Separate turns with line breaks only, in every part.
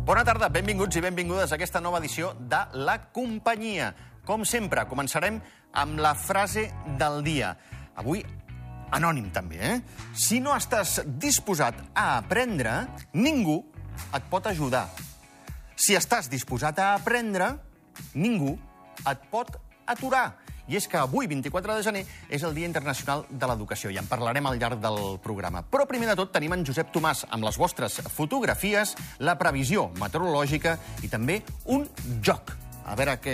Bona tarda, benvinguts i benvingudes a aquesta nova edició de La Companyia. Com sempre, començarem amb la frase del dia. Avui, anònim també, eh? Si no estàs disposat a aprendre, ningú et pot ajudar. Si estàs disposat a aprendre, ningú et pot aturar. I és que avui, 24 de gener, és el Dia Internacional de l'Educació i en parlarem al llarg del programa. Però primer de tot tenim en Josep Tomàs amb les vostres fotografies, la previsió meteorològica i també un joc. A veure què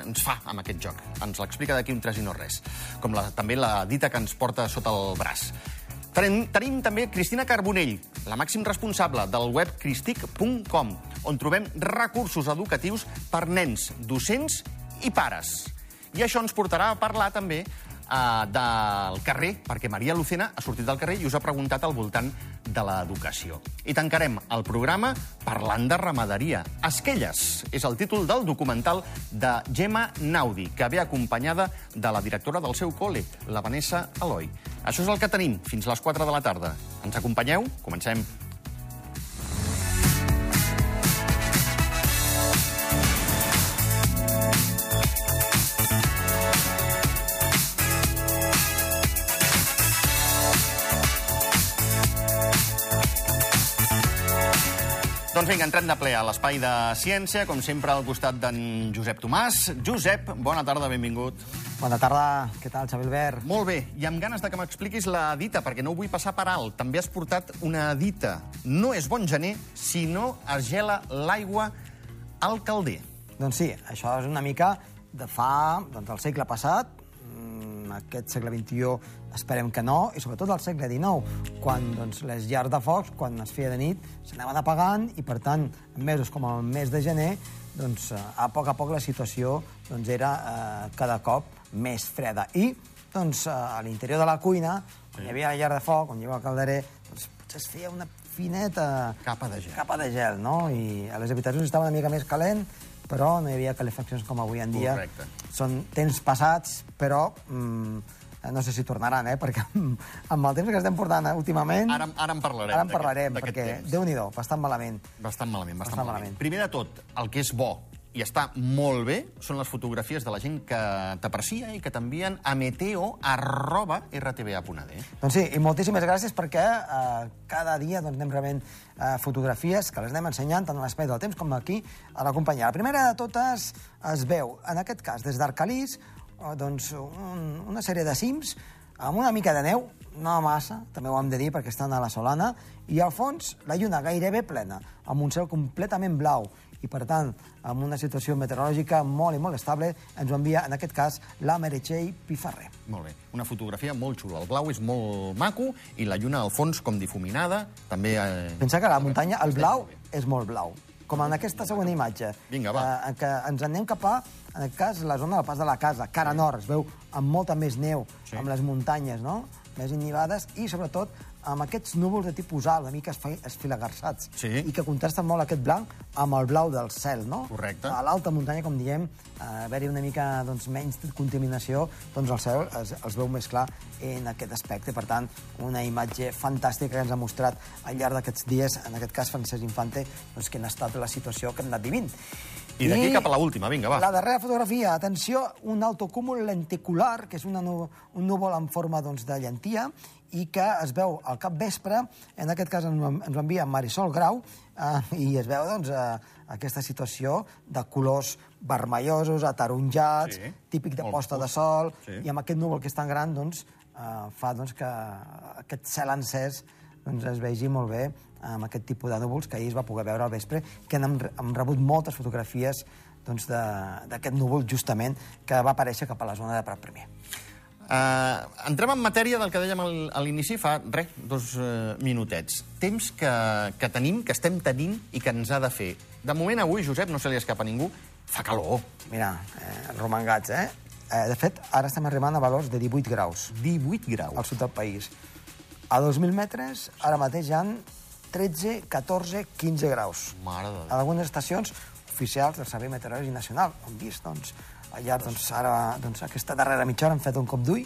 ens fa amb aquest joc. Ens l'explica d'aquí un tres i no res. Com la, també la dita que ens porta sota el braç. Tenim, tenim també Cristina Carbonell, la màxim responsable del web cristic.com, on trobem recursos educatius per nens, docents i pares. I això ens portarà a parlar també eh, del carrer, perquè Maria Lucena ha sortit del carrer i us ha preguntat al voltant de l'educació. I tancarem el programa parlant de ramaderia. Esquelles és el títol del documental de Gemma Naudi, que ve acompanyada de la directora del seu col·le, la Vanessa Eloi. Això és el que tenim fins les 4 de la tarda. Ens acompanyeu? Comencem. Doncs vinga, entrem de ple a l'espai de ciència, com sempre al costat d'en Josep Tomàs. Josep, bona tarda, benvingut.
Bona tarda, què tal, Xavi Albert?
Molt bé, i amb ganes de que m'expliquis la dita, perquè no ho vull passar per alt. També has portat una dita. No és bon gener si no es gela l'aigua al calder.
Doncs sí, això és una mica de fa, doncs, del segle passat, mm, aquest segle XXI esperem que no, i sobretot del segle XIX, quan doncs, les llars de focs, quan es feia de nit, s'anaven apagant, i per tant, en mesos com el mes de gener, doncs, eh, a poc a poc la situació doncs, era eh, cada cop més freda. I doncs, eh, a l'interior de la cuina, on hi havia la llar de foc, on hi havia el calderer, doncs, potser es feia una fineta...
Capa de gel.
Capa de gel, no? I a les habitacions estava una mica més calent, però no hi havia calefaccions com avui en dia.
Correcte.
Són temps passats, però... Mm, no sé si tornaran, eh? Perquè amb, amb el temps que estem portant eh, últimament...
Ara- ara en parlarem,
Ara en
d'aquest-
parlarem,
d'aquest
perquè,
temps.
déu-n'hi-do, bastant malament.
Bastant malament, bastant,
Bastant
malament.
malament.
Primer de tot, el que és bo i està molt bé són les fotografies de la gent que t'aprecia i que t'envien a meteo arroba rtva.d.
Doncs sí, i moltíssimes gràcies perquè eh, cada dia doncs, anem rebent eh, fotografies que les anem ensenyant tant a l'espai del temps com aquí a la companyia. La primera de totes es veu, en aquest cas, des d'Arcalís, eh, doncs, un, una sèrie de cims amb una mica de neu, no massa, també ho hem de dir perquè estan a la Solana, i al fons la lluna gairebé plena, amb un cel completament blau, i per tant, amb una situació meteorològica molt i molt estable, ens ho envia, en aquest cas, la Meritxell Pifarrer.
Molt bé. Una fotografia molt xula. El blau és molt maco i la lluna al fons com difuminada. També... Eh...
Pensa que a la muntanya el blau és molt blau, com en aquesta segona imatge.
Vinga, va.
Eh, en què ens anem cap a, en aquest cas, la zona del Pas de la Casa, cara nord, es veu amb molta més neu,
Sí.
amb les muntanyes, no?, més innivades, i sobretot amb aquests núvols de tipus alt, una mica esfi- esfilagarçats,
Sí.
i que contrasten molt aquest blanc amb el blau del cel, no?
Correcte.
A l'alta muntanya, com diem, eh, haver-hi una mica doncs, menys contaminació, doncs el cel es, es veu més clar en aquest aspecte. Per tant, una imatge fantàstica que ens ha mostrat al llarg d'aquests dies, en aquest cas Francesc Infante, doncs, que ha estat la situació que hem anat vivint.
I d'aquí cap a la última, vinga, va.
La darrera fotografia, atenció, un autocúmul lenticular, que és una, nu- un núvol en forma doncs, de llentia, i que es veu al cap vespre, en aquest cas ens ho ens ho envia Marisol Grau, eh, i es veu doncs, eh, aquesta situació de colors vermellosos, ataronjats,
Sí.
sí. típic de
Molt
posta de sol,
Sí.
sí. i amb aquest núvol que és tan gran doncs, eh, fa doncs, que aquest cel encès doncs, es vegi molt bé amb aquest tipus de núvols que ahir es va poder veure al vespre, que hem, hem rebut moltes fotografies doncs, de- d'aquest núvol justament que va aparèixer cap a la zona de Prat Primer.
Uh, entrem en matèria del que dèiem al- a l'inici fa, res, dos uh, minutets. Temps que, que tenim, que estem tenint i que ens ha de fer. De moment, avui, Josep, no se li escapa a ningú, fa calor.
Mira, eh, romangats, eh? eh? De fet, ara estem arribant a valors de 18 graus
18 graus.
al sud del país. A 2.000 metres, ara mateix hi han 13, 14, 15 graus.
Mare de Déu.
a algunes estacions oficials del Servei Meteorològic Nacional. Ho hem vist, doncs, al llarg, doncs, ara, doncs, aquesta darrera mitja hora hem fet un cop d'ull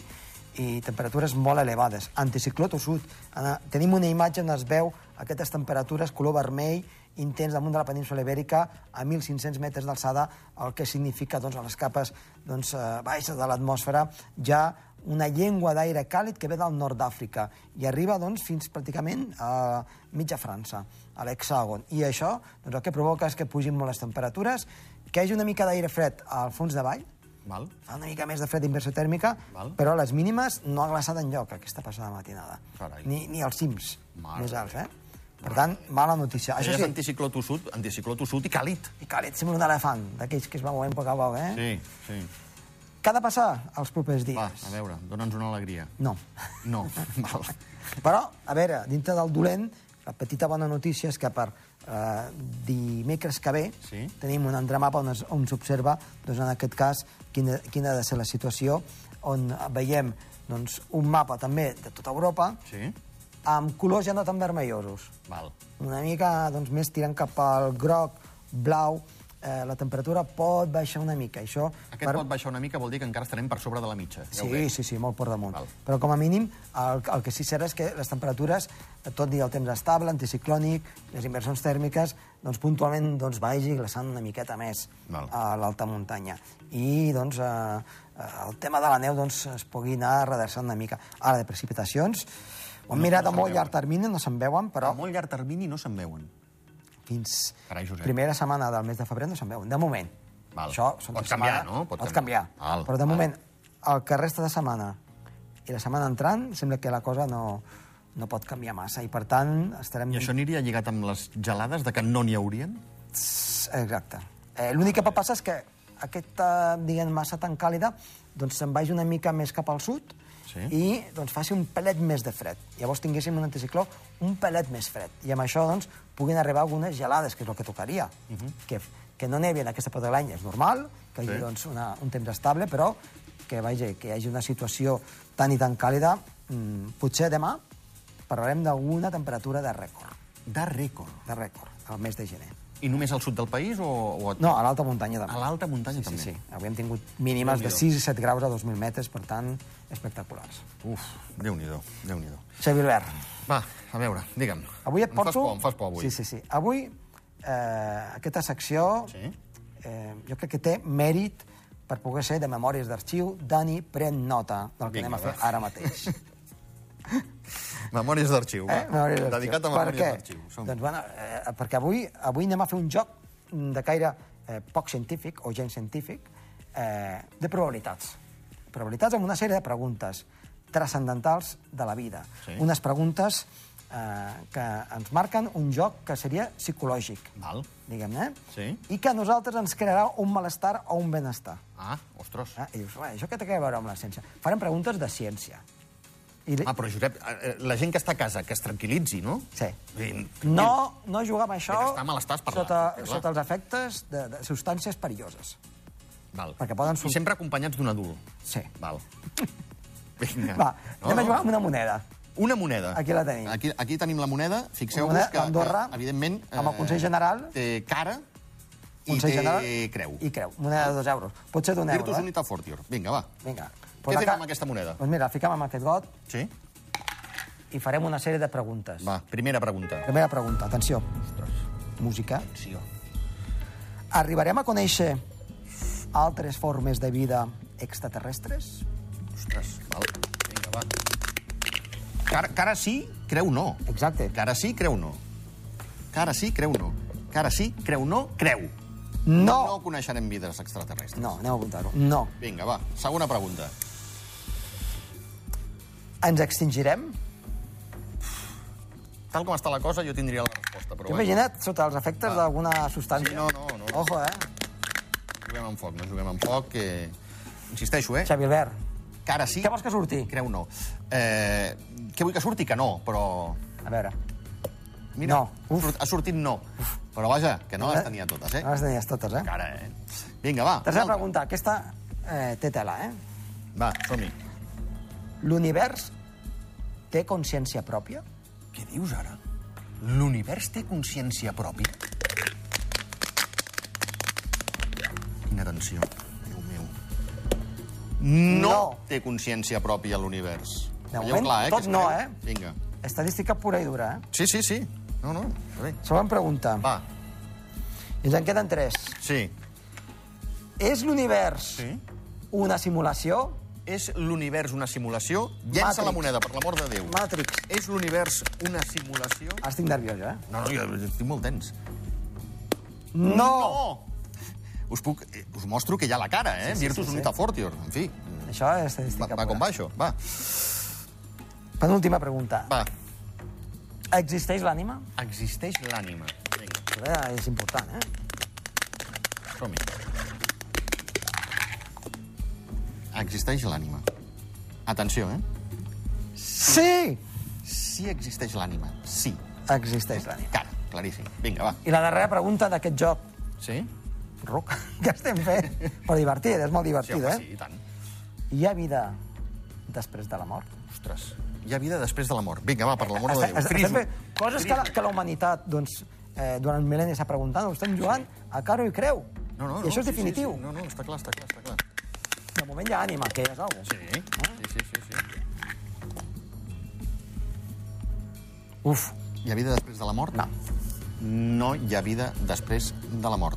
i temperatures molt elevades. Anticicló tossut. Ana- Tenim una imatge on es veu aquestes temperatures color vermell intens damunt de la península ibèrica a 1.500 metres d'alçada, el que significa doncs, a les capes doncs, eh, baixes de l'atmosfera ja una llengua d'aire càlid que ve del nord d'Àfrica i arriba doncs, fins pràcticament a mitja França, a l'hexàgon. I això doncs, el que provoca és que pugin molt les temperatures, que hi hagi una mica d'aire fred al fons de vall,
Val.
fa una mica més de fred d'inversió tèrmica,
Val.
però a les mínimes no ha glaçat enlloc aquesta passada matinada.
Carai.
Ni, ni als cims
Mare
més alts, eh? Per tant, mala notícia.
Això
Això
és
sí,
anticicló tossut, anticicló tossut i càlid.
i Calet sembla un elefant, d'aquells que es va movent a poc a poc, eh?
Sí, sí.
Què ha de passar els propers dies?
Va, a veure, dona'ns una alegria.
No.
No, val.
Però, a veure, dintre del dolent, la petita bona notícia és que per eh, dimecres que ve
Sí.
tenim un entramapa on, es, on s'observa, doncs, en aquest cas, quina, quina ha de ser la situació, on veiem doncs, un mapa també de tota Europa,
Sí?
amb colors ja no tan vermellosos.
Val.
Una mica doncs, més tirant cap al groc, blau, eh, la temperatura pot baixar una mica. Això
Aquest pot baixar una mica, vol dir que encara estarem per sobre de la mitja. Ja ho
Sí,
veig.
sí, sí, molt per damunt.
Val.
Val. Però com a mínim, el, el que sí que serà és que les temperatures, tot i el temps estable, anticiclònic, les inversions tèrmiques, doncs puntualment doncs, vagi glaçant una miqueta més
Val.
a l'alta muntanya. I doncs, eh, eh, el tema de la neu doncs, es pugui anar redreçant una mica. Ara, de precipitacions, ho hem
No-
mirat
no
a
se'n
molt
veuen.
llarg termini, no se'n veuen,
Però...
però
A molt llarg termini no se'n veuen.
fins
Carai, Josep.
primera setmana del mes de febrer no se'n veuen, de moment.
Val.
són
Pot
tres
canviar,
setmanes.
no? Pot
Pot,
canviar.
canviar.
Val,
Però de
val.
moment, el que resta de setmana i la setmana entrant, sembla que la cosa no, no pot canviar massa. I, per tant, estarem...
I això aniria lligat amb les gelades de que no n'hi haurien?
Exacte. Eh, L'únic que pot passar és que aquesta, diguem, massa tan càlida doncs se'n vagi una mica més cap al sud
Sí.
i doncs, faci un pelet més de fred. Llavors tinguéssim un anticicló un pelet més fred. I amb això doncs, puguin arribar algunes gelades, que és el que tocaria. Uh -huh. que, que no nevi en aquesta part de l'any és normal, que hi hagi
Mhm. Sí.
doncs, una, un temps estable, però que, vaja, que hi hagi una situació tan i tan càlida, mm, potser demà parlarem d'alguna temperatura de rècord,
De rècord.
de rècord, al mes de gener.
I només al sud del país o, o a,
No, a l'alta muntanya també.
a l'alta muntanya
Sí,
també?
sí. Avui hem tingut mínimes de
Déu-n'hi-do.
6 i 7 graus a 2.000 metres, per tant, espectaculars.
Uf, déu-n'hi-do, déu nhi déu
Xavi Albert,
Va, a veure, digue'm.
avui et
em
porto...
Fas por, em fas por, avui.
Sí, sí, sí. Avui, eh, aquesta secció,
Sí.
eh, jo crec que té mèrit per poder ser de Memòries d'Arxiu. Dani, pren nota del que
Vinga,
anem a fer
va.
ara mateix.
Memòries d'arxiu, va.
Eh? Memòries d'arxiu.
Dedicat a
Per
memòries
què?
d'arxiu. Som...
Doncs, bueno, eh, perquè avui, avui anem a fer un joc de caire eh, poc científic o gens científic eh, de probabilitats. Probabilitats amb una sèrie de preguntes transcendentals de la vida.
Sí.
Unes preguntes eh, que ens marquen un joc que seria psicològic,
Val.
diguem-ne, eh?
Sí.
i que a nosaltres ens crearà un malestar o un benestar.
Ah, ostres.
Eh? I dius, "Ué, això què té a veure amb la ciència? Farem preguntes de ciència. I li...
Ah, però Josep, eh, eh, la gent que està a casa, que es tranquil·litzi, no?
Sí.
Vinc.
No, no jugar amb això
De gastar mal estàs parlant,
sota,
perquè, clar.
sota els efectes de, de substàncies perilloses.
Val.
Perquè poden
I
sortir-
sempre acompanyats d'un adult.
Sí.
Val. Vinga.
Va, anem a jugar amb una moneda.
Una moneda.
Aquí la tenim.
Aquí, aquí tenim la moneda.
Una
Fixeu-vos
moneda
que,
d'Andorra,
que, evidentment... eh,
amb el Consell General.
Té cara i
Consell
té
General
creu.
I creu. Moneda de dos euros. Pot ser d'un euro,
Virtus
eh?
Unita Fortior. Vinga, va.
Vinga.
Què fem
acá-
amb aquesta moneda?
Doncs mira, fiquem amb aquest got
Sí?
i farem una sèrie de preguntes.
Va, primera pregunta.
Primera pregunta, atenció.
Ostres,
Música.
sí, oh.
Arribarem a conèixer altres formes de vida extraterrestres?
Ostres, val. Vinga, va. Cara, cara sí, creu no.
Exacte.
Cara sí, creu no. Cara sí, creu no. Cara sí, creu no, creu. No
No!
coneixerem vides extraterrestres.
No, anem a apuntar-ho. No.
Vinga, va, segona pregunta.
Ens extingirem?
Tal com està la cosa, jo tindria la resposta, però
T'he
bé,
imaginat sota els efectes d'alguna substància?
Sí, no, no, no.
Ojo, eh?
juguem amb foc, no juguem amb foc, que... Insisteixo, eh?
Xavi Albert,
Cara sí,
què vols que surti?
creu no. Eh, que vull que surti, que no, però...
A veure,
Mira,
No, uf.
surt- ha sortit no. Però vaja, que no les tenia totes, eh?
no les tenies totes, eh?
Cara, eh? Vinga, va.
Tercera
una altra.
pregunta, aquesta eh, té tela, eh?
Va, som-hi.
L'univers té consciència pròpia?
Què dius ara? L'univers té consciència pròpia? Quina tensió. Déu meu. No,
No.
té consciència pròpia l'univers.
De
Veieu
moment,
clar, eh,
tot
que es
no,
creu?
eh?
Vinga.
Estadística pura i dura, eh?
Sí, sí, sí. No, no, està bé.
Següent pregunta.
Va,
I ens en queden tres.
sí.
És l'univers
Sí.
una simulació?
És l'univers una simulació? Llença
Matrix.
la moneda, per l'amor de Déu.
Matrix.
És l'univers una simulació?
Ara estic nerviós, eh?
No, no, jo estic molt tens. Mm.
No!
Us, puc, eh, us mostro que hi ha la cara, eh?
Sí, sí,
Virtus
sí, sí.
unita fortior. En fi,
Això és estadística
va, va com va
pura.
això? Va,
Penúltima pregunta.
va.
Existeix l'ànima?
Existeix l'ànima. Vinga,
Això és important, eh?
som-hi. Existeix l'ànima. Atenció, eh?
Sí!
Sí existeix l'ànima. Sí.
Existeix l'ànima.
Cara, claríssim. Vinga, va.
I la darrera pregunta d'aquest joc,
Sí?
Ruc, que estem fent, però divertit, és molt
Sí,
divertit,
home,
eh?
sí, i tant.
Hi ha vida després de la mort?
Ostres, Eh, hi ha vida després de la mort. Vinga, va, per l'amor de
Està-
Déu.
està-
Criso.
estem fent coses que la, que la humanitat, doncs, eh, durant mil·lennis s'ha preguntat, ho estem jugant a caro i creu.
No, no, no,
I això
sí,
és definitiu.
Sí, sí. No, no, està clar, està clar, està clar.
De moment hi ha ànima, que és alguna
Sí, sí, sí, sí, sí.
Uf,
Hi ha vida després de la mort?
no.
No hi ha vida després de la mort.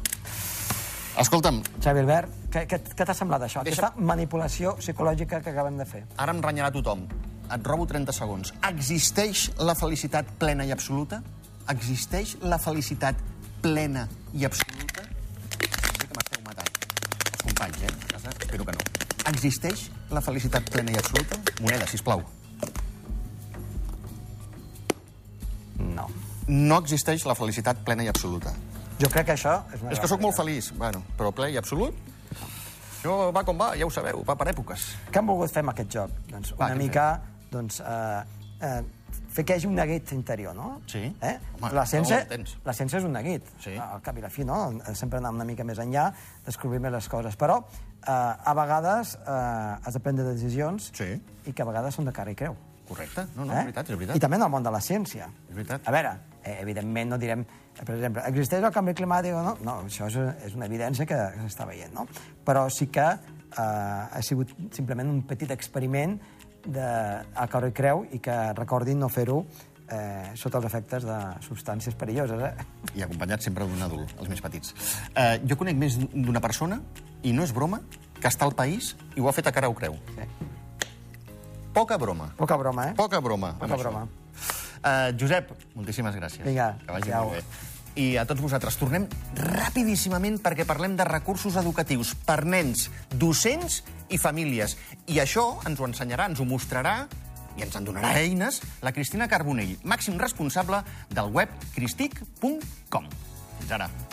Escolta'm,
Xavi Albert, què, què, què t'ha semblat això?
Deixa-
Aquesta manipulació psicològica que acabem de fer.
ara em renyarà tothom. Et robo 30 segons. Existeix la felicitat plena i absoluta? Existeix la felicitat plena i absoluta? Sé que m'esteu matant. Els companys, eh? A casa, espero que no. Existeix la felicitat plena i absoluta? Moneda, sisplau.
No.
No existeix la felicitat plena i absoluta.
Jo crec que això... És, una
És que
gran
sóc molt feliç, bueno, però ple i absolut... Això va com va, ja ho sabeu, va per èpoques.
Què han volgut fer amb aquest joc? Doncs
Va,
una
què
mica, doncs, eh, eh, fer que hi hagi un neguit interior, no?
Sí.
Eh?
Home,
L'essència
no ho entens.
l'essència és un neguit.
Sí.
Al cap i la fi, no? Sempre anar una mica més enllà, descobrir més les coses. Però eh, a vegades eh, has de prendre decisions
Sí.
i que a vegades són de cara i creu.
Correcte? No, no, és veritat, és
Eh? I
veritat.
també en el món de la ciència.
És veritat.
A veure, eh, evidentment no direm, eh, per exemple, existeix el canvi climàtic o no? No, això és, és una evidència que s'està veient, no? Però sí que eh, ha sigut simplement un petit experiment de, a cor i creu i que recordin no fer-ho eh, sota els efectes de substàncies perilloses. Eh?
I acompanyat sempre d'un adult, els més petits. Eh, jo conec més d'una persona, i no és broma, que està al país i ho ha fet a cara o creu.
Sí.
Poca broma.
Poca broma, eh?
Poca broma. amb
Poca
això.
broma.
Eh, Josep, moltíssimes gràcies.
Vinga,
que vagi
adéu.
molt bé. I a tots vosaltres, tornem rapidíssimament perquè parlem de recursos educatius per nens, docents i famílies. I això ens ho ensenyarà, ens ho mostrarà i ens en donarà eines la Cristina Carbonell, màxim responsable del web cristic.com. Fins ara.